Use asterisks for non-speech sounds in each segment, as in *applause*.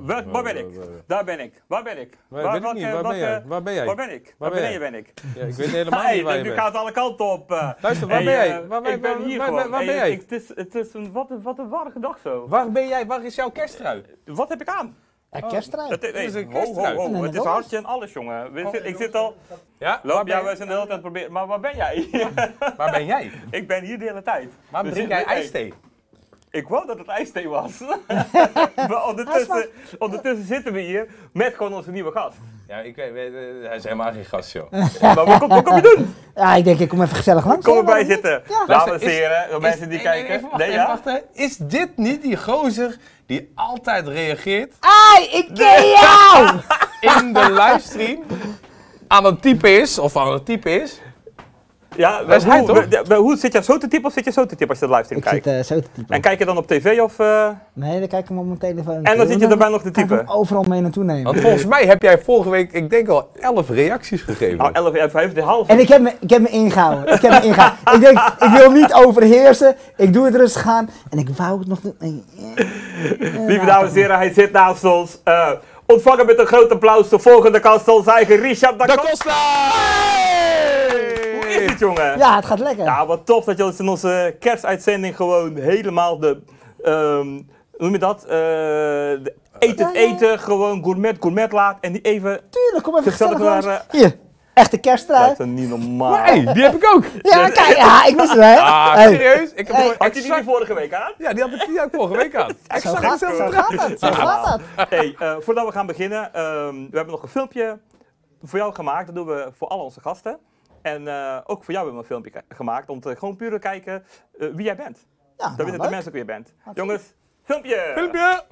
Waar, waar ben ik? Daar ben ik. Waar ben ik? Waar ben ik niet? Waar ben jij? eh, Waar ben jij? Waar ben ik? Waar Waar ben ben jij? je? Ben ik? Ja, ik weet helemaal Hey, niet waar je nu bent. gaat alle kanten op. eh. Luister, waar Hey, ben jij? eh, Waar ben- ik ben waar- hier waar- gewoon. waar- waar Hey, ben jij? ik- Het is, het is een, wat, een, wat een warme dag zo. Waar ben jij? Waar is jouw kersttrui? Wat heb ik aan? Een kersttrui. Het, is hey, een ho, ho, kerstruit. ho. Nee, Het is dat is- hartje en alles, jongen. We zitten- ik zit al... Ja? Waar Loop, ben, ja, wij zijn de hele tijd proberen... Maar waar ben jij? waar ben jij? ik ben hier de hele tijd. Waarom We *laughs* drink jij zitten- hey, ijsthee? Ik wou dat het ijsthee was. maar ondertussen, ondertussen zitten we hier met gewoon onze nieuwe gast. Ja, ik weet, weet- eh, hij is helemaal geen gast, joh. Maar wat kom, wat kom je doen? Ja, ik denk ik kom even gezellig langs. Kom hè, erbij waarom niet? zitten. Ja. Dames en Is- heren, de mensen die Is- nee, nee, kijken. even wachten, Nee, even wachten, hè. Is dit niet die gozer die altijd reageert Ai, ik ken *laughs* jou! in de livestream aan het typen is, of aan het typen is? Ja, Dat is hoe, hij, toch? we- de- hoe zit je zo te typen of zit je zo te typen als je de livestream Ik kijkt? zit eh, zo te typen. En kijk je dan op tv of... eh, Nee, dan kijk ik hem op mijn telefoon. en dan zit je daarbij nog te Kan ik typen? Oh. hem overal mee naartoe nemen. Want volgens mij heb jij vorige week, ik denk al, 11 reacties gegeven. Nou, 11 uur 5, de half. En ik heb, me, ik heb me ingehouden. Ik heb me *laughs* ingehouden. ik denk, ik wil niet overheersen. Ik doe het rustig aan. En ik wou het nog doen. En- Lieve dames en heren, hij zit naast ons. Eh, ontvangen met een groot applaus de volgende kast, onze eigen Richard da Da Costa. Costa! Hoe is het, jongen? Ja, het gaat lekker. Ja, wat tof dat je ons in onze kerstuitzending gewoon helemaal de. ehm, hoe noem je dat? Eh, de eten, Ja, ja. eten, gewoon gourmet, gourmet laat. En die even. Tuurlijk, kom even Gezellig eh, gezellig waar, langs. Hier, echte kersttrui. Dat is niet normaal. Hé, die heb ik ook! *laughs* Ja, kijk, ja, ik wist het, hè. Ah, Hey, serieus? Ik heb Hey. nog Had je die exact- niet vorige week aan? Ja, die had ik die had ik vorige week *laughs* aan. zo Exact gaat, zo hetzelfde. gaat dat, zo gaat dat. Hey, eh, voordat we gaan beginnen, ehm, we hebben nog een filmpje voor jou gemaakt. Dat doen we voor al onze gasten. En eh, ook voor jou hebben we een filmpje ke- gemaakt om te gewoon puur te kijken eh, wie jij bent. Dat Ja, nou, weten de leuk. mensen ook wie je bent. Jongens, filmpje! Filmpje!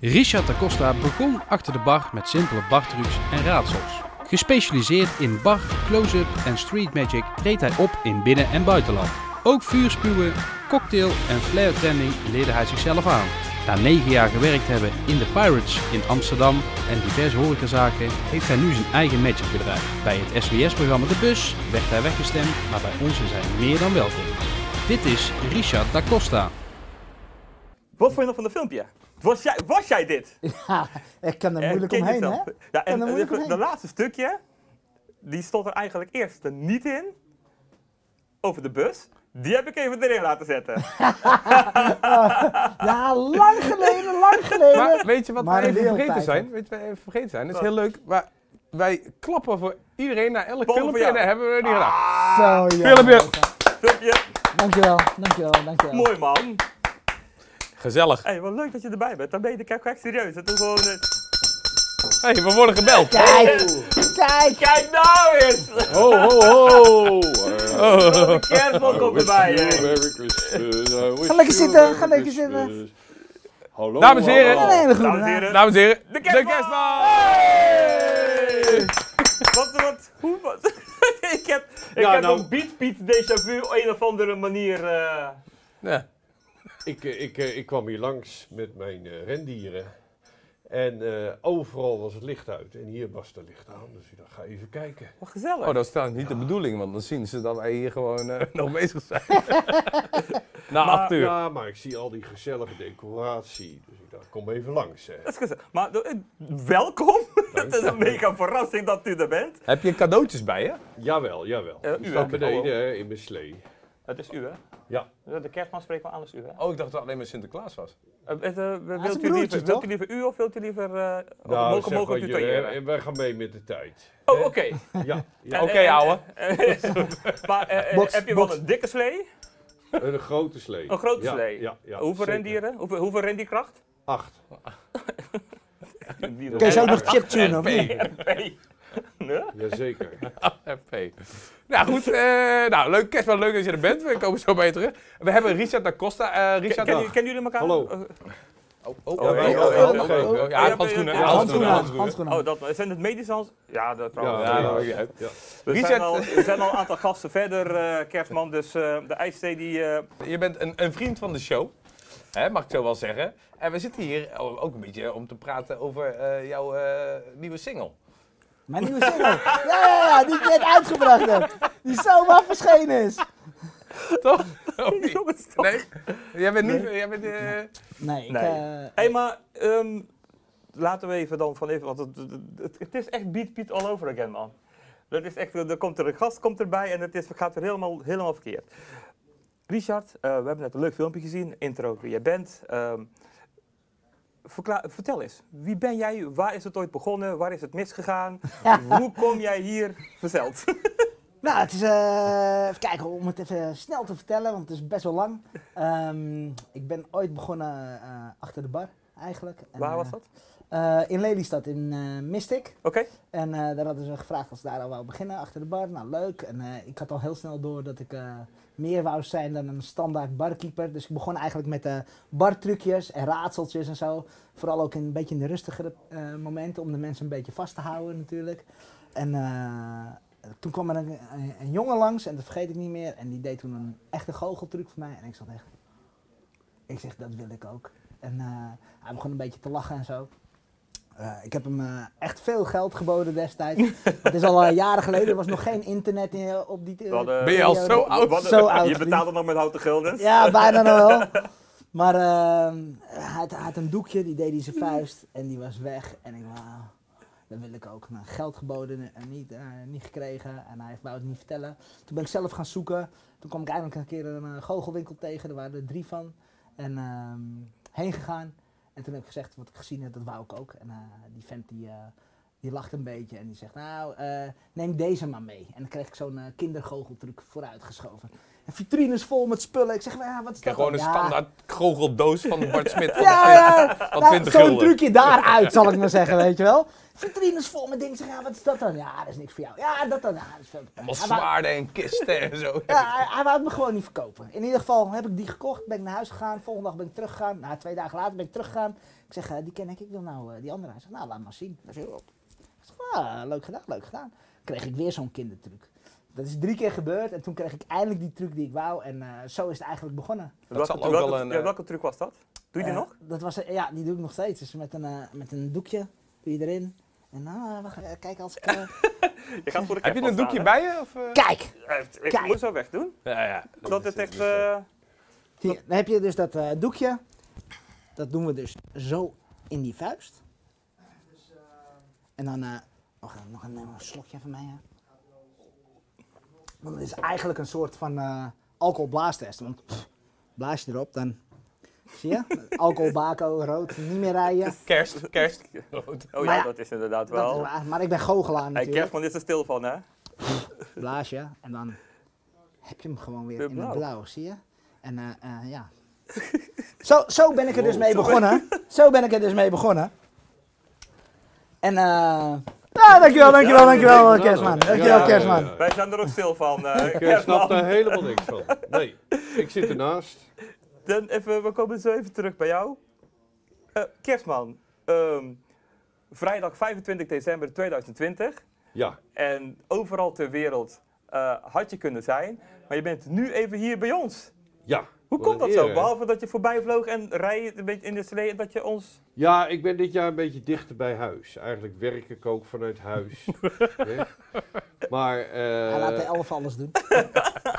Richard da Costa begon achter de bar met simpele bartrucs en raadsels. Gespecialiseerd in bar, close-up en street magic treedt hij op in binnen- en buitenland. Ook vuurspuwen, cocktail en flare tending leerde hij zichzelf aan. Na 9 jaar gewerkt hebben in de Pirates in Amsterdam en diverse horecazaken heeft hij nu zijn eigen magicbedrijf. Bij het SBS-programma De Bus werd hij weggestemd, maar bij ons is hij meer dan welkom. Dit is Richard da Costa. Wat vond je nog van het filmpje? Was jij, was jij dit? Ja, ik kan er Eh, moeilijk ken je omheen, hè. zelf. Ja, en er moeilijk de, de omheen. laatste stukje, die stond er eigenlijk eerst er niet in. Over de bus. Die heb ik even erin laten zetten. Ja, lang geleden, lang geleden. Maar weet je wat Maar wij een even vergeten wereldtijd. zijn? Weet je wat wij even vergeten zijn? Dat is Wat? heel leuk, maar wij klappen voor iedereen naar elk Behalve filmpje voor en jou. dat hebben we niet gedaan. Zo, ja. Filmpje! Filmpje, Dankjewel, dankjewel, dankjewel. mooi man. Gezellig. Hé, wat leuk dat je erbij bent. Dan ben je de kijk echt serieus. Dat is gewoon... eh, Hé, hey, we worden gebeld. Kijk, kijk. Kijk nou eens! *laughs* De Ho, ho, ho! Oh, kerstman komt erbij. eh. hè. Uh, Ga lekker zitten, ga lekker zitten. Hallo, Dames en heren. Een hallo. hele goede Dames en naam. heren. *laughs* Dames en heren, de kerstman! kerstman! Wat, wat, hoe, wat? *laughs* ik heb, ik Ja, heb nou- een beat beat déjà vu op een of andere manier... eh, Ja. Ik, eh, ik, eh, ik kwam hier langs met mijn eh, rendieren. En eh, overal was het licht uit. En hier was het licht aan. Dus ik dacht, ga even kijken. wat gezellig. Oh, dat is trouwens niet de bedoeling, want dan zien ze dat wij hier gewoon eh, nog bezig *laughs* zijn. Na acht uur. Ja, maar ik zie al die gezellige decoratie. Dus ik dacht, kom even langs. Hè. Dat is gezellig. Maar eh, welkom. *laughs* het is een mega verrassing dat u er bent. Heb je cadeautjes bij je? Jawel, jawel. Eh, ik u, sta hè? beneden Oh, oh. hè, in mijn slee. Het is u, hè? Ja. De kerstman spreekt wel alles u, hè? Oh, ik dacht dat alleen maar Sinterklaas was. Eh, wilt, u broertje, liever, wilt toch? u liever u of wilt u liever... eh Nou, mogen zeg eh, mogen maar, u jullie, tweeën? hè, wij gaan mee met de tijd. Oh, oké. *laughs* Ja, ja. Oké, ouwe. maar eh, eh, Box, heb je wel box. een dikke slee? een grote slee. Een grote Ja, slee? Ja, ja, hoeveel zeker. rendieren? Hoeveel, hoeveel rendierkracht? Acht. Kun je zo ook *laughs* nog chiptune of niet? FP. Nee. Nee? Jazeker. FP. Nou goed, eh, nou, leuk, kerstman, leuk dat je er bent. We komen zo bij je terug. We hebben Richard da Costa. eh, Richard, Kennen jullie- kennen jullie elkaar? Hallo. Eh, Oh, oh, Ja, oh, wij- oh, oh, oh, oké. oh, oh, Ja, Ja, handschoenen. ja, ja, ja, Handschoenen aan, handschoenen. handschoenen Oh, aan. dat, zijn het medische hands? *laughs* Ja, dat trouwens. Ja, Ja, dat ja, maakt niet ja. we, Richard, zijn al, we zijn al een aantal gasten verder, eh, Kerstman. Dus eh, de ijsthee die... eh, Je bent een, een vriend van de show, hè, mag ik zo wel zeggen. En we zitten hier ook een beetje om te praten over eh, jouw eh, nieuwe single. Mijn nieuwe single. Ja, ja, ja, die ik net uitgebracht heb. Die zomaar verschenen is. Toch? Of niet? jongens, toch? Nee? Jij bent niet... Jij bent, eh, Nee, ik... Nee. eh, Hé, maar ehm, laten we even dan van even, want het, het, het is echt Beat Piet all over again, man. Dat is echt, er komt er een gast komt erbij en het is, gaat er helemaal, helemaal verkeerd. Richard, eh, we hebben net een leuk filmpje gezien, intro wie jij bent. Ehm, verkla- vertel eens, wie ben jij, waar is het ooit begonnen, waar is het misgegaan, hoe kom jij hier verzeld? Nou, het is, eh, even kijken, om het even snel te vertellen, want het is best wel lang. Ehm, ik ben ooit begonnen eh, achter de bar, eigenlijk. En, waar was eh, dat? eh, in Lelystad, in eh, Mystic. Oké, En eh, daar hadden ze gevraagd als ze daar al wou beginnen, achter de bar. Nou, leuk. En eh, ik had al heel snel door dat ik eh, meer wou zijn dan een standaard barkeeper. Dus ik begon eigenlijk met eh bartrucjes en raadseltjes en zo. Vooral ook in, een beetje in de rustigere eh, momenten, om de mensen een beetje vast te houden natuurlijk. En eh, toen kwam er een, een, een jongen langs, en dat vergeet ik niet meer. En die deed toen een echte goocheltruc voor mij. En ik zat echt... Ik zeg, dat wil ik ook. En eh, hij begon een beetje te lachen en zo. Eh, ik heb hem eh, echt veel geld geboden destijds. *laughs* Het is al eh, jaren geleden, er was nog geen internet in, op die eh, we hadden- Ben je al zo we oud? hadden- zo oud, Je vriend. betaalde nog met houten guldens. Ja, bijna nog wel. Maar ehm, hij, had, hij had een doekje, die deed hij in zijn vuist en die was weg. En ik wauw, dat wil ik ook. Nou, geld geboden en niet, eh, niet gekregen en hij wou het niet vertellen. Toen ben ik zelf gaan zoeken. Toen kwam ik eindelijk een keer een eh, goochelwinkel tegen, er waren er drie van. En ehm, heen gegaan. En toen heb ik gezegd, wat ik gezien heb, dat wou ik ook. En eh, die vent die, eh, die lacht een beetje en die zegt, nou, eh, neem deze maar mee. En dan kreeg ik zo'n eh, kindergoocheltruc vooruitgeschoven. En vitrines vol met spullen. Ik zeg, maar, ja, wat is Ik heb dat gewoon een dan? Ja. standaard goocheldoos van Bart Smit. Van *laughs* *laughs* Ja, ja. Van Nou, 20 zo'n gulden. trucje *laughs* daaruit, zal ik maar zeggen, weet je wel. Vitrines vol met dingen. Ik Zeg, ja, wat is dat dan? Ja, dat is niks voor jou. Ja, dat dan. Ja, dat is veel. te- Allemaal Hij wou- zwaarden en kisten en zo. ja, hij, hij wou het me gewoon niet verkopen. In ieder geval heb ik die gekocht, ben ik naar huis gegaan. Volgende dag ben ik teruggegaan. Nou, twee dagen later ben ik teruggegaan. Ik zeg, eh, die ken ik, ik wil nou eh, die andere. Hij zegt, nou, laat maar zien. Dat is heel op. Ik zeg, ah, leuk gedaan, leuk gedaan. Kreeg ik weer zo'n kindertruc. Dat is drie keer gebeurd en toen kreeg ik eindelijk die truc die ik wou. En eh, zo is het eigenlijk begonnen. Dat zal welke, ook welke- wel een, ja, eh, welke truc was dat? Doe je die Eh, nog? Dat was, ja, die doe ik nog steeds. Dus met een, eh, met een doekje doe je erin. En nou, eh, wacht, eh, kijk als ik... *laughs* eh, Je gaat voor de Heb je een kerstboom doekje staan, bij je? Of, eh? kijk! hè? Eh, Ik Kijk. moet zo wegdoen. Ja, ja. Dat is echt... dus, eh, eh, Hier, dan heb je dus dat eh, doekje. Dat doen we dus zo in die vuist. En dan... eh, wacht, eh, nog een, eh, slokje van mij. hè. Want het is eigenlijk een soort van eh alcoholblaastest. Want pff, blaas je erop, dan... Zie je? Alcohol, bako, rood, niet meer rijden. *laughs* Kerst, kerst. Oh Maar ja, ja, dat is inderdaad Dat is wel. waar, maar ik ben goochelaar Hey, natuurlijk. Kerstman is er stil van, hè? blaas je en dan heb je hem gewoon weer Weer in het blauw. blauw, zie je? En eh, eh, ja. zo, zo ben ik er dus mee Wow. begonnen. Zo ben ik er dus mee begonnen. En eh. Ja, dankjewel, dankjewel, dankjewel, Kerstman. Dankjewel, Ja, Kerstman. ja, ja. Wij zijn er ook stil van. eh, *laughs* Ik snap Kerstman. daar helemaal niks van. Nee, ik zit ernaast. Dan even, we komen zo even terug bij jou. Eh, Kerstman, ehm, vrijdag 25 december 2020. Ja, En overal ter wereld eh, had je kunnen zijn. Maar je bent nu even hier bij ons. ja. Hoe Wat komt een dat zo? eer, hè? Behalve dat je voorbij vloog en rijden een beetje in de slee en dat je ons... Ja, ik ben dit jaar een beetje dichter bij huis. Eigenlijk werk ik ook vanuit *laughs* huis. Hè? maar Hij laat de eh, elf alles doen.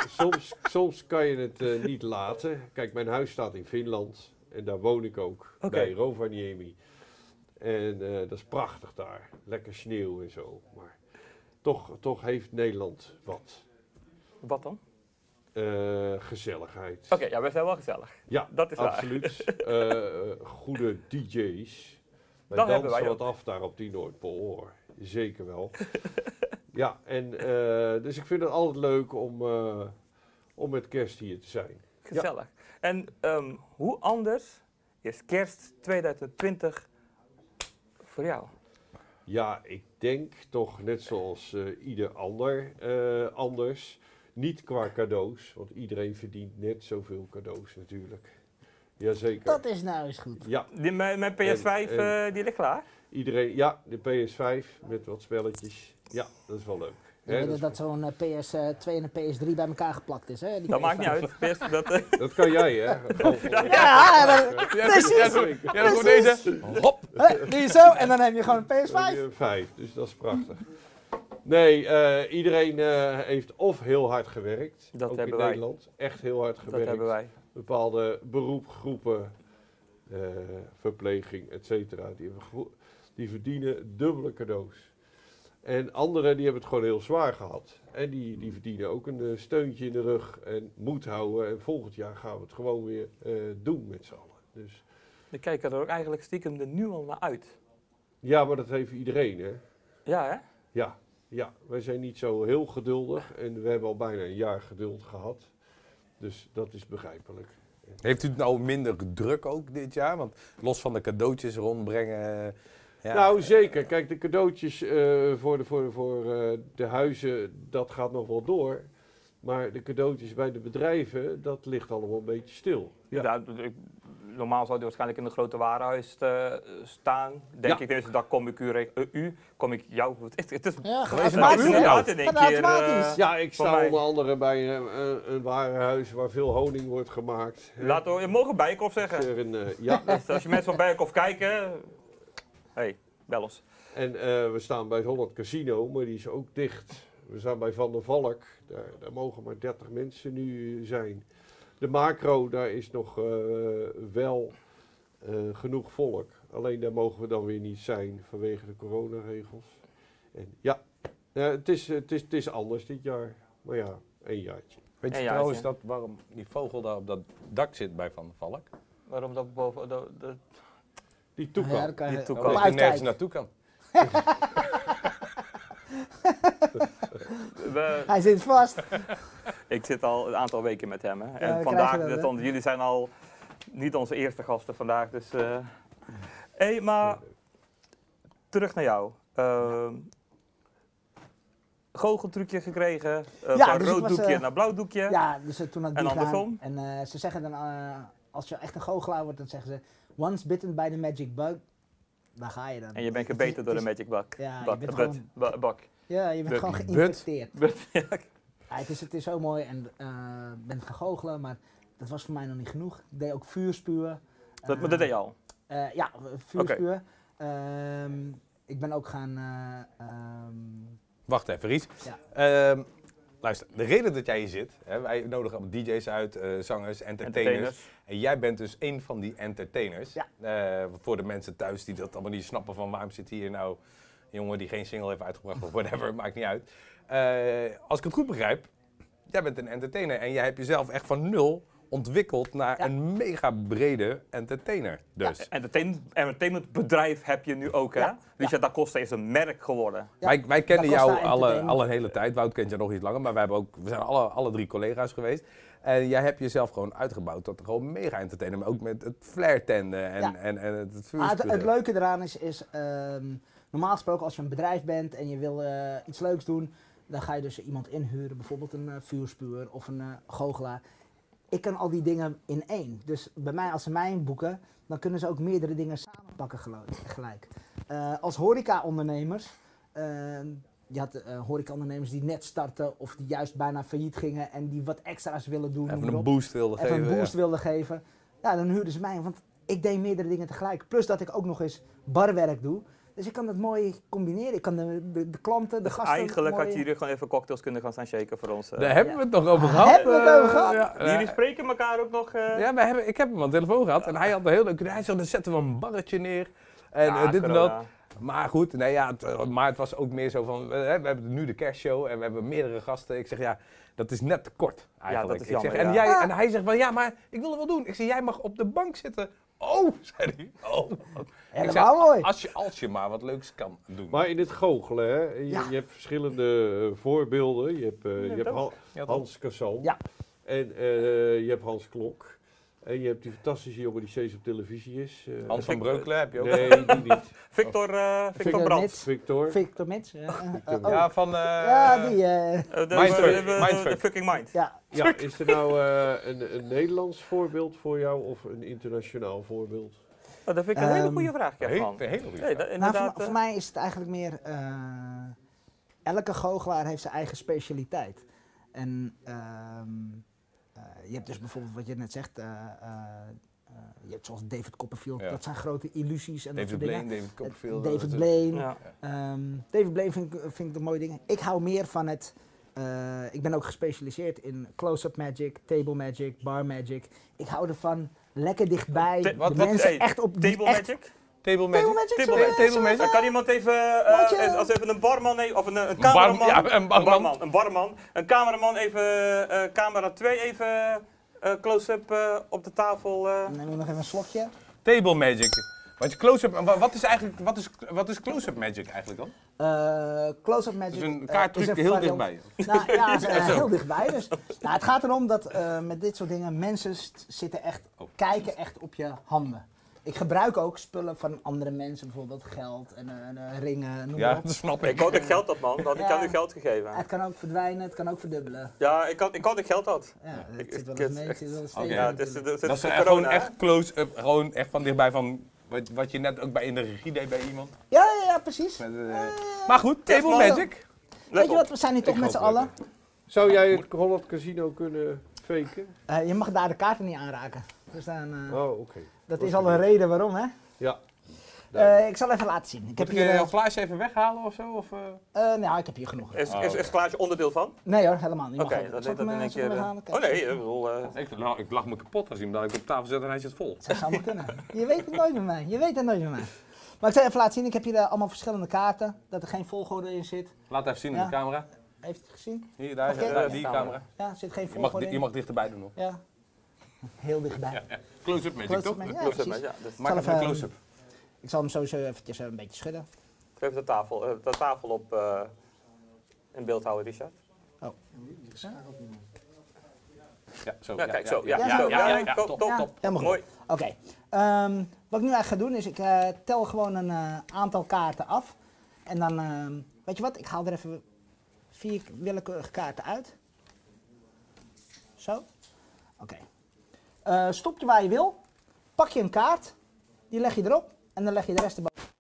soms, soms kan je het eh, niet laten. Kijk, mijn huis staat in Finland. En daar woon ik ook, Oké. bij Rovaniemi. En eh, dat is prachtig daar. Lekker sneeuw en zo. Maar toch, toch heeft Nederland wat. Wat dan? Eh, gezelligheid. Oké, ja, we zijn wel gezellig. Ja, Dat is waar. *laughs* absoluut. Eh, eh, goede DJ's. Wij Dat hebben dansen wij wat af daar op die Noordpool hoor. *laughs* Zeker wel. ja, en eh, dus ik vind het altijd leuk om, eh, om met kerst hier te zijn. Gezellig. En ehm, hoe anders is kerst 2020 voor jou? Ja, ik denk toch net zoals eh, ieder ander eh, anders. Niet qua cadeaus, want iedereen verdient net zoveel cadeaus natuurlijk. Jazeker. Dat is nou eens goed. Ja, Die, mijn, mijn PS5 En- en- eh, die ligt klaar. iedereen. Ja, de PS5 met wat spelletjes. Ja, dat is wel leuk. Hè, Je dus weet dat dat, is dat zo'n eh, PS2 en een PS3 bij elkaar geplakt is, hè? Die Dat PS5. maakt niet uit. PS, *laughs* dat, eh, Dat kan jij, hè? Ja, dat- *laughs* Ja, Ja, dan komt deze. Hop. hè, doe je zo en dan heb je gewoon een PS5. Vijf. Vijf, dus dat is prachtig. Nee, eh, iedereen eh, heeft of heel hard gewerkt, Dat ook hebben in wij. Nederland, echt heel hard dat gewerkt. hebben wij. Bepaalde beroepgroepen, eh, verpleging, et cetera, die hebben gro- Die verdienen dubbele cadeaus. En anderen die hebben het gewoon heel zwaar gehad. En die, die verdienen ook een eh, steuntje in de rug en moed houden. En volgend jaar gaan we het gewoon weer eh, doen met z'n allen. Dus, We kijken er ook eigenlijk stiekem er nu al naar uit. ja, maar dat heeft iedereen, hè? Ja, hè? Ja, ja, wij zijn niet zo heel geduldig en we hebben al bijna een jaar geduld gehad. Dus dat is begrijpelijk. *laughs* Heeft u het nou minder druk ook dit jaar? Want los van de cadeautjes rondbrengen. eh, Ja, Nou, zeker. Kijk, de cadeautjes eh, voor, de, voor, voor eh, de huizen, dat gaat nog wel door. Maar de cadeautjes bij de bedrijven, dat ligt allemaal een beetje stil. Ja, Ja, d- ik- normaal zou die waarschijnlijk in een grote warenhuis eh, staan. Denk Ja. ik, deze dag kom ik u, reg- eh, u kom ik jou. Het is, het is Ja, het is automatisch. een Ja. auto in één Gaat keer. automatisch. eh, ja ik Voor sta mij. onder andere bij een, een, een warenhuis waar veel honing wordt gemaakt. Laten we, je mogen Bijenkorf zeggen. Er een, eh, ja, Dus als je mensen van Bijenkorf kijken, hey, bel ons. En eh, we staan bij het Holland Casino, maar die is ook dicht. We staan bij Van der Valk, daar, daar mogen maar 30 mensen nu zijn. De macro, daar is nog eh, wel eh, genoeg volk. Alleen daar mogen we dan weer niet zijn vanwege de coronaregels. En ja, eh, het, is, het, is, het is anders dit jaar. Maar ja, één jaartje. Weet je Ja, ja, trouwens ja. dat, waarom die vogel daar op dat dak zit bij Van der Valk? Waarom dat boven de, de- Die toekomst. Ja, daar kan je Die toekomst. op Omdat hij Nou, nergens uitkijken. naartoe kan. we- Hij zit vast. ik zit al een aantal weken met hem. Hè. En krijg je vandaag, dat, dat hè? dan- jullie zijn al niet onze eerste gasten vandaag. Dus, eh. hey, maar terug naar jou. Ehm goocheltrucje gekregen, eh, Ja, van dus ik rood was, doekje eh, naar blauw doekje. Ja, dus eh, toen had ik En die gedaan. andersom? En eh, ze zeggen dan, eh, als je echt een goochelaar wordt, dan zeggen ze, once bitten by the magic bug, daar ga je dan. En je bent Het is- gebeten door de het is- magic bak. Ja, je bak, bent but, gewoon- ba- bak. Ja, je bent Bug. Bug. gewoon geïnfecteerd. But- ja, Ja, het, is, het is zo mooi en eh ben gaan goochelen, maar dat was voor mij nog niet genoeg. Ik deed ook vuurspuwen. dat, maar dat deed je al. Eh, ja, vuurspuwen. Ehm, ik ben ook gaan. eh, ehm, Wacht even, Ries. Ja. Ehm, luister, de reden dat jij hier zit, hè, wij nodigen allemaal DJ's uit, eh, zangers, entertainers. En jij bent dus een van die entertainers. Ja. Eh, voor de mensen thuis die dat allemaal niet snappen van waarom zit hier nou een jongen die geen single heeft uitgebracht of *laughs* whatever, maakt niet uit. Eh, als ik het goed begrijp, jij bent een entertainer en jij hebt jezelf echt van nul ontwikkeld naar Ja. een mega brede entertainer. Dus. Entertain, entertainmentbedrijf heb je nu ook, hè? Dus Ja, Richard Da Costa is een merk geworden. Ja, wij, wij kennen Costa jou alle, Entertainment. al een hele tijd. Wout kent je nog iets langer, maar wij hebben ook, we zijn alle, alle drie collega's geweest. En jij hebt jezelf gewoon uitgebouwd tot gewoon mega entertainer. Maar ook met het flair-tenden en, Ja. en, en het, het ah, het, het vuurspugen. leuke eraan is, is ehm, normaal gesproken als je een bedrijf bent en je wil eh, iets leuks doen, dan ga je dus iemand inhuren, bijvoorbeeld een eh, vuurspuwer of een eh goochelaar. Ik kan al die dingen in één. Dus bij mij, als ze mij boeken, dan kunnen ze ook meerdere dingen samenpakken gelo- gelijk. Eh, als horeca-ondernemers, eh, je had eh, horeca-ondernemers die net starten of die juist bijna failliet gingen en die wat extra's willen doen. noem Even maar een op boost wilde even geven. een boost ja. wilde geven, ja, dan huurden ze mij. Want ik deed meerdere dingen tegelijk. Plus dat ik ook nog eens barwerk doe. Dus ik kan dat mooi combineren. Ik kan de, de, de klanten, de gasten... Dus Eigenlijk mooi... had je hier gewoon even cocktails kunnen gaan staan shaken voor ons. eh. Daar hebben we het nog over Ah, gehad. hebben we het over Eh, gehad? ja, ja. Jullie spreken elkaar ook nog. eh, Ja, wij hebben, ik heb hem aan de telefoon gehad en hij had een heel leuk. Hij zei: dan zetten we een barretje neer. En ja, eh, dit en dat. corona. Maar goed, nee, ja, het, eh, maar het was ook meer zo van, eh, we hebben nu de kerstshow en we hebben meerdere gasten. Ik zeg, ja, dat is net te kort eigenlijk. is Ik zeg, jammer, ja. en, jij, Ah. en hij zegt van, ja, maar ik wil het wel doen. Ik zeg, jij mag op de bank zitten. Oh, *laughs* zei hij. Oh. Ik zeg, Helemaal mooi. als, je, als je maar wat leuks kan doen. Maar in het goochelen, hè, je, Ja. je hebt verschillende eh, voorbeelden. Je hebt, eh, je hebt ook. Han- Ja, toch? Hans Cassan. Ja. En eh, je hebt Hans Klok. En je hebt die fantastische jongen die steeds op televisie is. eh, Hans van Ik- Breukelen heb je ook. Nee, die niet. Victor, eh Victor Victor Brandt. Nits. Victor. Victor *laughs* Mits. eh, eh, Victor eh, oh. Ja, van... eh, ja, die... eh, Eh, de- de, Mindfuck, de- de- mindfuck. de fucking mind. ja. Ja, is er nou eh, een, een Nederlands voorbeeld voor jou of een internationaal voorbeeld? Oh, dat vind ik een hele Ehm, goede vraag, ja, Heel, man. heel goed. Nee, dat, Nou, inderdaad, voor, eh, voor mij is het eigenlijk meer... eh, elke goochelaar heeft zijn eigen specialiteit. En ehm, eh, je hebt dus bijvoorbeeld wat je net zegt... eh, eh, eh, je hebt zoals David Copperfield, Ja. dat zijn grote illusies en dat David soort dingen. Blaine, David Copperfield. dat David is- Blaine. eh, ja. Ehm, David Blaine vind ik, vind ik de mooie dingen. Ik hou meer van het. eh, ik ben ook gespecialiseerd in close-up magic, table magic, bar magic. Ik hou ervan lekker dichtbij. Ta- de wat- wat- mensen hey, echt op die Table echt Magic? Table Table Magic. Magic, Table sorry, Magic. eh, Table sorry. Magic. Kan iemand even, eh, Maatje. eh, als even een barman nee, of een, een bar- cameraman, ja, een barman. een barman, een cameraman even, eh, camera 2 even eh, close-up eh, op de tafel. eh. Dan neem ik nog even een slokje. Table Magic. Want close-up, wa- wat is eigenlijk, wat is, wat is close-up magic eigenlijk dan? Eh, Close-up magic. Dus een eh, kaartruc is een heel variant- dichtbij. Nou, ja, ze- Ja, zo. heel dichtbij. Dus, nou, het gaat erom dat eh, met dit soort dingen mensen st- zitten echt, Oh. kijken echt op je handen. Ik gebruik ook spullen van andere mensen, bijvoorbeeld geld en eh, eh, ringen, noem maar Ja, op. dat snap Ik ik. had ik geld had man, want ik Ja. had u geld gegeven. Het kan ook verdwijnen, het kan ook verdubbelen. Ja, ik had ik, had ik geld had. Ja, Ik- het zit wel ik- eens mee, het zit wel eens Oké. tegen Ja, het is, natuurlijk. het is, het Dat is is corona, echt gewoon hè? echt close-up, gewoon echt van dichtbij van wat, wat je net ook bij in de regie deed bij iemand. ja, ja, ja, precies. Met, eh, Eh, maar goed, Yes, Table man. Magic. Let Weet je op. wat, we zijn hier toch Ik met z'n hoop allen. dat Zou jij het Holland Casino kunnen faken? Eh, je mag daar de kaarten niet aanraken. Dus dan, eh, Oh, oké. dat was is al een gebeurd. reden waarom, hè? Ja. Eh, ik zal even laten zien. Ik heb, Moet ik hier, een eh, heel glaasje even weghalen of zo? Of, eh? eh, nou, ik heb hier genoeg. Is, Oh, is, oké. is Klaasje onderdeel van? Nee hoor, helemaal niet. Oké, Mag ook. dat Zal deed dat ik hem, in eh, één zal ik keer. hem eh, weghalen? Kijk, Oh nee, ik bedoel. eh, Ik, nou, ik lach me kapot als iemand dat ik op tafel zet en hij zit vol. Dat zou maar kunnen. Je weet het nooit met mij. Je weet het nooit met mij. Maar ik zal even laten zien. Ik heb hier eh, allemaal verschillende kaarten. Dat er geen volgorde in zit. Laat even zien in Ja. de camera. Heeft u het gezien? Hier, daar, Oké. daar, die Ja, camera. Ja, er zit geen Je mag, volgorde di- je in. mag dichterbij doen hoor. Ja. Heel dichtbij. Close-up Magic Close-up toch? magic, close-up, precies. ja, dus Maak Zal even een even- close-up. Ik zal hem sowieso eventjes eh, een beetje schudden. Even de tafel, eh, de tafel op eh, in beeld houden, Richard. Oh. Ja, zo. Ja, kijk zo. Ja, ja, zo. ja, Ja, ja, nee, top, top, Ja, top. helemaal goed. Mooi. Oké. ehm, wat ik nu eigenlijk ga doen is ik eh, tel gewoon een eh, aantal kaarten af. En dan, ehm, weet je wat, ik haal er even vier willekeurige kaarten uit. Zo. Oké. Eh, stop je waar je wil. Pak je een kaart. Die leg je erop. En dan leg je de rest erboven.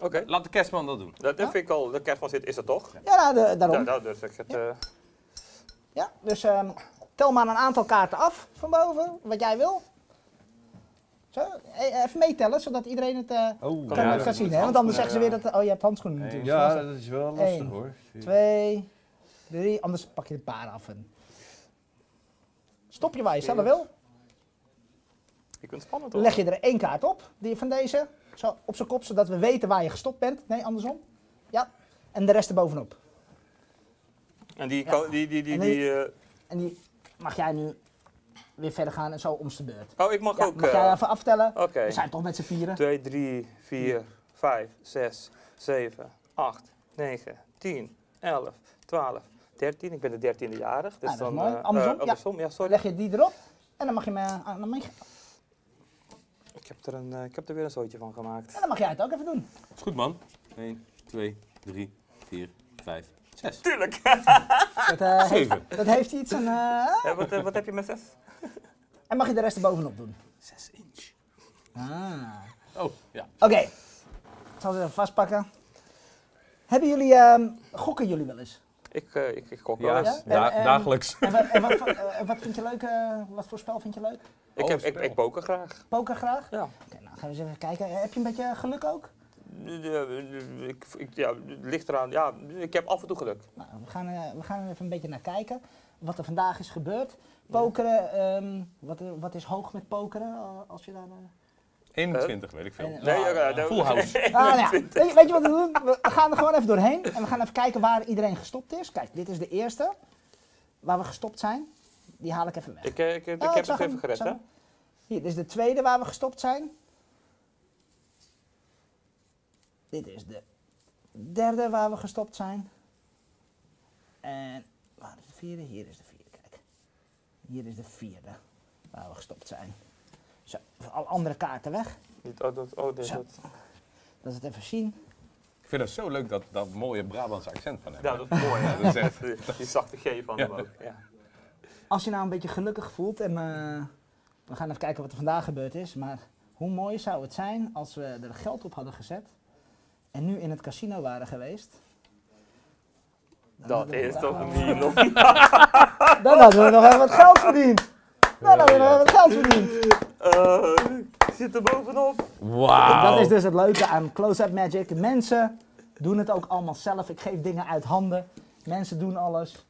Oké. Laat de kerstman dat doen. Dat, dat vind ik al, de kerstman zit, is dat toch? Ja, nou, de- daarom. Ja, Ja, dat, dus ik het, eh, dus ehm, tel maar een aantal kaarten af van boven. Wat jij wil. Zo. eh, Even meetellen, zodat iedereen het... eh, Oh, kan Ja, het dat gaan is zien, hè? handschoenen, Want anders zeggen ze ja. weer dat. Oh, je hebt handschoenen Nee. natuurlijk. Ja, Dat is dat is wel lastig Eén, hoor. lastig. Twee, drie, anders pak je een paar af. En... Stop je waar je zelf wil. je kunt het spannend hoor. Leg je er één kaart op, die van deze, zo op zijn kop, zodat we weten waar je gestopt bent. Nee, andersom. Ja. En de rest erbovenop. En die, kan- die, die, die, En die- die, eh, En die mag jij nu weer verder gaan en zo om de beurt. oh, ik mag Ja, ook. mag eh, jij even aftellen? Oké. We zijn toch met z'n vieren. 2, 3, 4, 5, 6, 7, 8, 9, 10, 11, 12, 13. Ik ben de dertiende jarig. Dus Ah, dat is dan, mooi. eh, Andersom, eh, ja. andersom, ja. sorry. Leg je die erop en dan mag, je me, ah, dan, mag je- Ik, heb er een, eh, ik heb er weer een zootje van *laughs* gemaakt. en dan mag jij het ook even doen. Is goed man. 1, 2, 3, 4, 5, 6. Tuurlijk! Ah, Dat, eh, heeft, 7. dat heeft iets een. eh, Ja, wat, *laughs* eh, wat heb je met zes? en mag je de rest erbovenop doen. 6 inch. Ah. Oh, ja. Oké, ik zal ze even vastpakken. Hebben jullie, ehm, gokken jullie wel eens? Ik, eh ik, ik gok wel Ja, eens. Ja? En, ehm, en- dagelijks. En, wat- en wat, voor- eh, wat vind je leuk, eh, wat voor spel vind je leuk? Ik, Oh, heb, ik, spel. ik poker graag. Poker graag? Oké, Ja. nou gaan we eens even kijken. Eh, Heb je een beetje geluk ook? Ja, Ik, ik, ja, het ligt eraan. Ja, ik heb af en toe geluk. Nou, we gaan, eh, we gaan er even een beetje naar kijken. Wat er vandaag is gebeurd. Pokeren, ehm, wat, er- wat is hoog met pokeren? eh, Als je daar, eh, 21, weet ik veel. En- eh, Nee, ja, dat- Full house. Ah, nou ja. weet, je- weet je wat we doen? We gaan er gewoon even doorheen. En we gaan even kijken waar iedereen gestopt is. Kijk, dit is de eerste. Waar we gestopt zijn. Die haal ik even weg. *laughs* Ik, eh, ik, ik, Ja, heb Oh, zag het hem, even gered, zag hè? hem. Hier, dit is de tweede waar we gestopt zijn. Dit is de derde waar we gestopt zijn. En waar is de vierde? Hier is de vierde, kijk. Hier is de vierde waar we gestopt zijn. Zo, al andere kaarten weg. Niet- Oh, dat, oh, dit, Zo. dat. Dat we het even zien. Ik vind het zo leuk dat dat mooie Brabantse accent van hem. Ja, dat is mooi, *laughs* hè? Dat is echt- Die- Die zachte G van hem ook. Ja. Als je nou een beetje gelukkig voelt en eh, we gaan even kijken wat er vandaag gebeurd is. Maar hoe mooi zou het zijn als we er geld op hadden gezet en nu in het casino waren geweest. Dan Dat hadden we is daar toch wel- *laughs* niet nog. Dan hadden we nog even wat geld verdiend. Dan hadden we nog even wat geld verdiend. Eh, ik zit er bovenop. Wauw. Dat is dus het leuke aan Close-Up Magic. Mensen doen het ook allemaal zelf. Ik geef dingen uit handen. Mensen doen alles.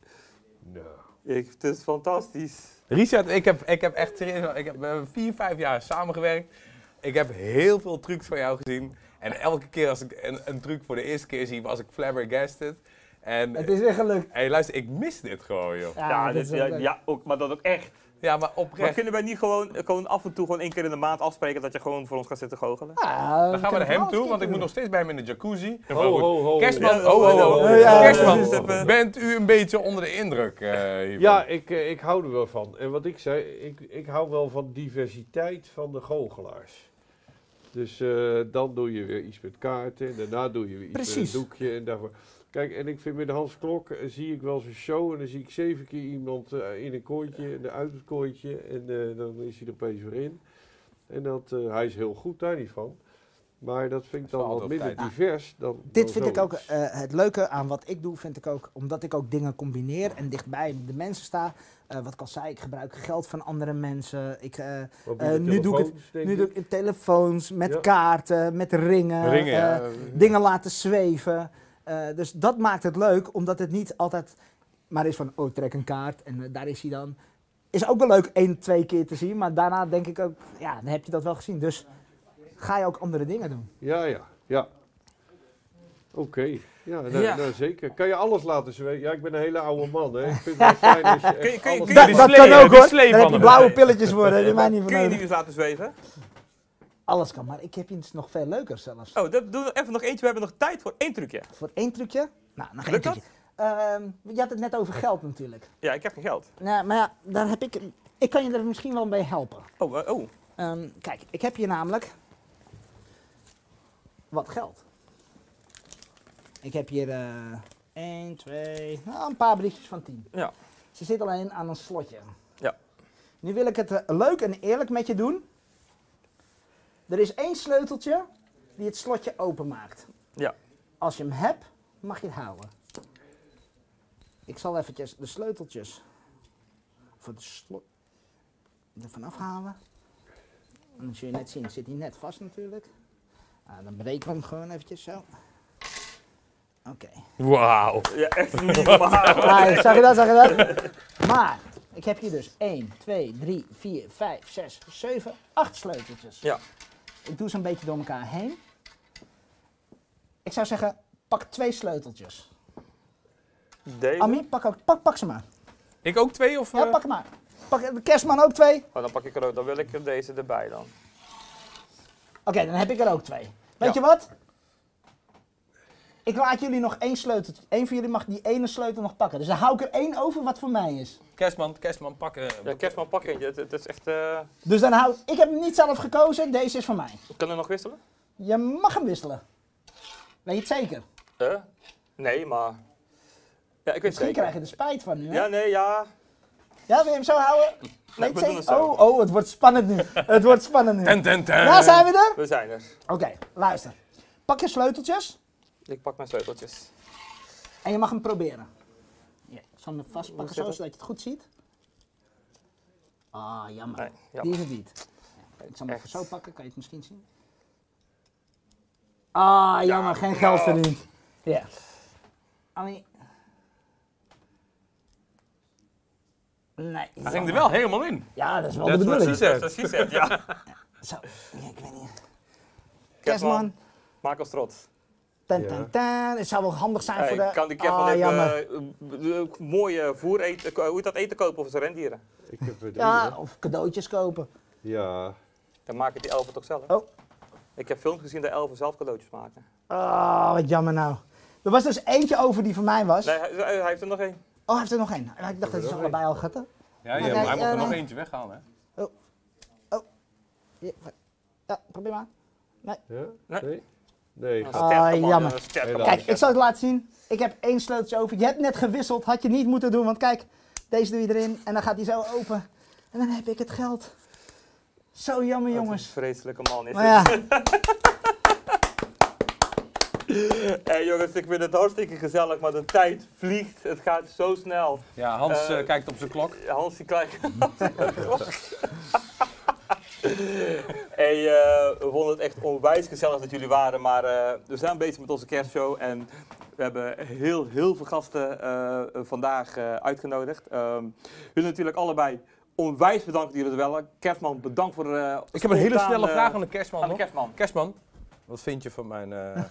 Nou, Ik, het is fantastisch. Richard, ik heb, ik heb echt serieus, ik heb eh, vier, vijf jaar samengewerkt. Ik heb heel veel trucs van jou gezien. En elke keer als ik een, een truc voor de eerste keer zie, was ik flabbergasted. En Het is weer gelukt. hey, luister, ik mis dit gewoon, joh. Ja, dit dit- is wel ja, leuk. ja, ook, maar dat ook echt. Ja, maar Maar oprecht. kunnen wij niet gewoon, gewoon af en toe gewoon één keer in de maand afspreken dat je gewoon voor ons gaat zitten Ah, goochelen? Ja, Dan gaan we kunnen naar wel hem eens toe, een want ik keer Oh, moet nog steeds bij hem in de jacuzzi. Ho, ho, ho. Kerstman, Ja, oh, oh, ja, oh. ja, ja, ja, ja, ja. Kerstman, bent u een beetje onder de indruk eh, hiervan? Ja, ik, eh, ik hou er wel van. En wat ik zei, ik, ik hou wel van diversiteit van de goochelaars. Dus eh, dan doe je weer iets met kaarten en daarna doe je weer iets Precies. met een doekje en daarvoor. Kijk, en ik vind met Hans Klok eh, zie ik wel zijn show en dan zie ik zeven keer iemand eh, in een kooitje en uit het kooitje en eh, dan is hij er opeens weer in. En dat, eh, hij is heel goed daar niet van. Maar dat vind Dat is ik dan wel wat altijd minder op tijd. divers dan Dit dan vind ik ook zoiets. eh, het leuke aan wat ik doe, vind ik ook, omdat ik ook dingen combineer en dichtbij de mensen sta. Eh, wat ik al zei, ik gebruik geld van andere mensen. Ik, eh, Mobiele eh, nu doe ik het- telefoons, denk nu doe ik telefoons, met Ja. kaarten, met ringen, Ringen, eh, ja. dingen laten zweven. Eh, dus dat maakt het leuk, omdat het niet altijd maar is van, oh trek een kaart en eh, daar is hij dan. Is ook wel leuk één, twee keer te zien, maar daarna denk ik ook, ja, dan heb je dat wel gezien. Dus ga je ook andere dingen doen. Ja, ja, ja. Oké, ja, nou, Ja. nou, zeker. Kan je alles laten zweven? Ja, ik ben een hele oude man, hè. Ik *laughs* vind het wel fijn als je Kun je- echt kun je- alles... kun je- Dat, die dat slee- kan ook die hoor. slee Dan van heb je hem. blauwe pilletjes worden, die mij niet van Kun je nodig. die eens laten zweven? Alles kan, maar ik heb iets nog veel leuker zelfs. Oh, dat doen we even nog eentje. We hebben nog tijd voor één trucje. Voor één trucje? Nou, nog één Lukt dat? Oh. trucje. Ehm, je had het net over geld natuurlijk. Ja, ik heb geen geld. Nou, maar ja, daar heb ik... Ik kan je er misschien wel bij helpen. Oh, eh, oh. Ehm, kijk, ik heb hier namelijk... Wat geld. Ik heb hier... eh 1, 2... Nou, een paar briefjes van 10. Ja. Ze zit alleen aan een slotje. Ja. Nu wil ik het eh, leuk en eerlijk met je doen. Er is één sleuteltje die het slotje openmaakt. Ja. Als je hem hebt, mag je het houden. Ik zal eventjes de sleuteltjes voor de slot ervan afhalen. En dan zul je net zien, het zit hij net vast natuurlijk. Ah, dan breken we hem gewoon eventjes zo. Oké. Wauw. Ja, *laughs* echt niet normaal. Ah, zag je dat, zag je dat? Maar, ik heb hier dus 1, 2, 3, 4, 5, 6, 7, 8 sleuteltjes. Ja. Ik doe ze een beetje door elkaar heen. Ik zou zeggen, pak twee sleuteltjes. Deze. Ami, pak, ook, pak, pak ze maar. Ik ook twee of... Ja, eh, pak hem maar. Pak de kerstman ook twee. Oh, dan pak ik er ook. Dan wil ik er deze erbij dan. Oké, dan heb ik er ook twee. Weet Ja. je wat? Ik laat jullie nog één sleutel. Eén van jullie mag die ene sleutel nog pakken. Dus dan hou ik er één over wat voor mij is. Kerstman, kerstman, eh. pakken. Ja, kerstman pak eentje. Het, het is echt... eh, Dus dan hou ik heb hem niet zelf gekozen. Deze is voor mij. Kunnen we nog wisselen? Je mag hem wisselen. Weet je het zeker? Eh? Nee, maar... Ja, ik weet het Misschien zeker. krijg je er spijt van nu. Hè? Ja, Ja. nee, ja. wil je hem zo houden? Weet we je doen het het zeker? zo. eh, Oh, oh, het wordt spannend *laughs* nu. het wordt spannend nu. Ten, ten, ten. Daar zijn we er. We zijn er. Oké, luister. Pak je sleuteltjes Ik pak mijn sleuteltjes. en je mag hem proberen. Ja, ik zal hem vastpakken zo, zit het? zodat je het goed ziet. Ah, jammer. Nee, ja. Die is het niet. Ja, ik zal hem even Echt. zo pakken, kan je het misschien zien? Ah, jammer, geen nou. geld verdiend. Ja. Annie. Nee. Hij ging er wel helemaal in. Ja, dat is wel Dat de is wat ze bedoeling. zegt. Dat is *laughs* het, ja. Zo, ja, ik weet niet. Kerstman, Kerstman. maak ons trots. Ten, ten, ten. Het zou wel handig zijn Hey, voor de... kan die kerstman ah, even jammer. eh, eh, mooie voer eten, ko- hoe heet dat, eten kopen voor zijn rendieren? Ik heb er drie, Ja, hè. of cadeautjes kopen. Ja. Dan maken die elfen toch zelf? Oh. Ik heb films gezien dat elfen zelf cadeautjes maken. Ah, wat jammer nou. Er was dus eentje over die van mij was. Nee, hij, hij heeft er nog één. Oh, hij heeft er nog één. Nou, Ik dacht dat ze nog allebei al gatten. Ja, Maar hij- hij mocht ja, er nog nee. eentje weghalen, hè. Ja, wa- ja, probeer maar. ja? Nee. Ah. Nee? Nee. Een gaat- sterke man, Ah, jammer. een sterke Helaas. man. Kijk, ik zal het laten zien. Ik heb één sleuteltje over. Je hebt net gewisseld. Had je niet moeten doen. Want kijk, deze doe je erin. En dan gaat die zo open. En dan heb ik het geld. Zo jammer, Wat een jongens. vreselijke man is Maar ja, dit. *laughs* Hey, jongens, ik vind het hartstikke gezellig, maar de tijd vliegt. Het gaat zo snel. Ja, Hans Eh, eh, kijkt op zijn klok. Hans die Klein. *laughs* hey, eh, we vonden het echt onwijs gezellig dat jullie waren, maar eh, we zijn bezig met onze kerstshow en we hebben heel, heel veel gasten eh, vandaag eh, uitgenodigd. Ehm jullie natuurlijk allebei Onwijs bedankt jullie wel. Kerstman, bedankt voor de. Ik heb een hele snelle vraag eh, aan de kerstman. aan de nog. Kerstman. Kerstman, wat vind je van mijn eh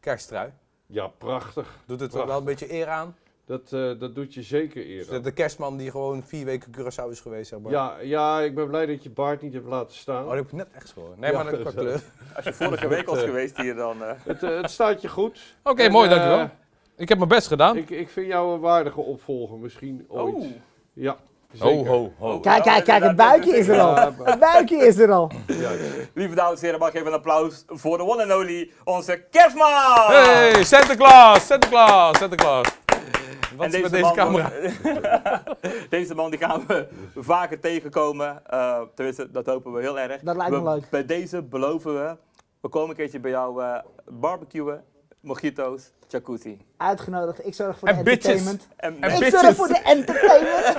kersttrui? Ja, prachtig. Doet het Prachtig. wel een beetje eer aan? Dat, eh, dat doet je zeker Is eerder. dat de kerstman die gewoon vier weken Curaçao is geweest, zeg maar. Ja, ja, ik ben blij dat je baard niet hebt laten staan. Oh, dat heb ik net echt schoon. Nee, Ja, maar dat dat qua is kleur. Als je vorige week *laughs* was geweest hier, dan. eh, Het, eh, het staat je goed. Oké, En, mooi, eh, dankjewel. Ik heb mijn best gedaan. Ik, ik vind jou een waardige opvolger misschien ooit. oh. Ja, ho, zeker. ho, ho. Kijk, kijk, kijk, het buikje is er al. Het buikje is er al. Juist. Lieve dames en heren, mag ik even een applaus voor de one and only, onze Kerstman! Hey, Santa Claus, Santa Claus, Santa Claus. Wat En is met deze camera? *laughs* deze man die gaan we vaker tegenkomen. Eh, tenminste, dat hopen we heel erg. Dat lijkt me We- leuk. Bij deze beloven we, we komen een keertje bij jou eh, barbecuen, mojito's, jacuzzi. Uitgenodigd. Ik zorg voor En de bitches. entertainment. En, En Ik bitches. zorg voor de entertainment.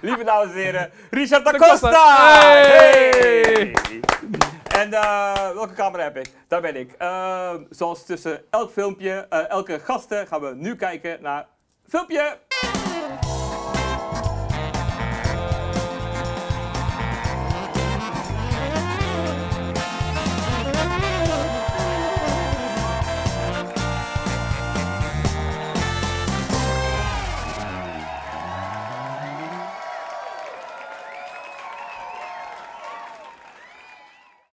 lieve dames en heren, Richard da Da Costa! Costa. Hey! En eh, welke camera heb ik? Daar ben ik. Ehm, Eh, zoals tussen elk filmpje, eh, elke gasten, gaan we nu kijken naar filmpje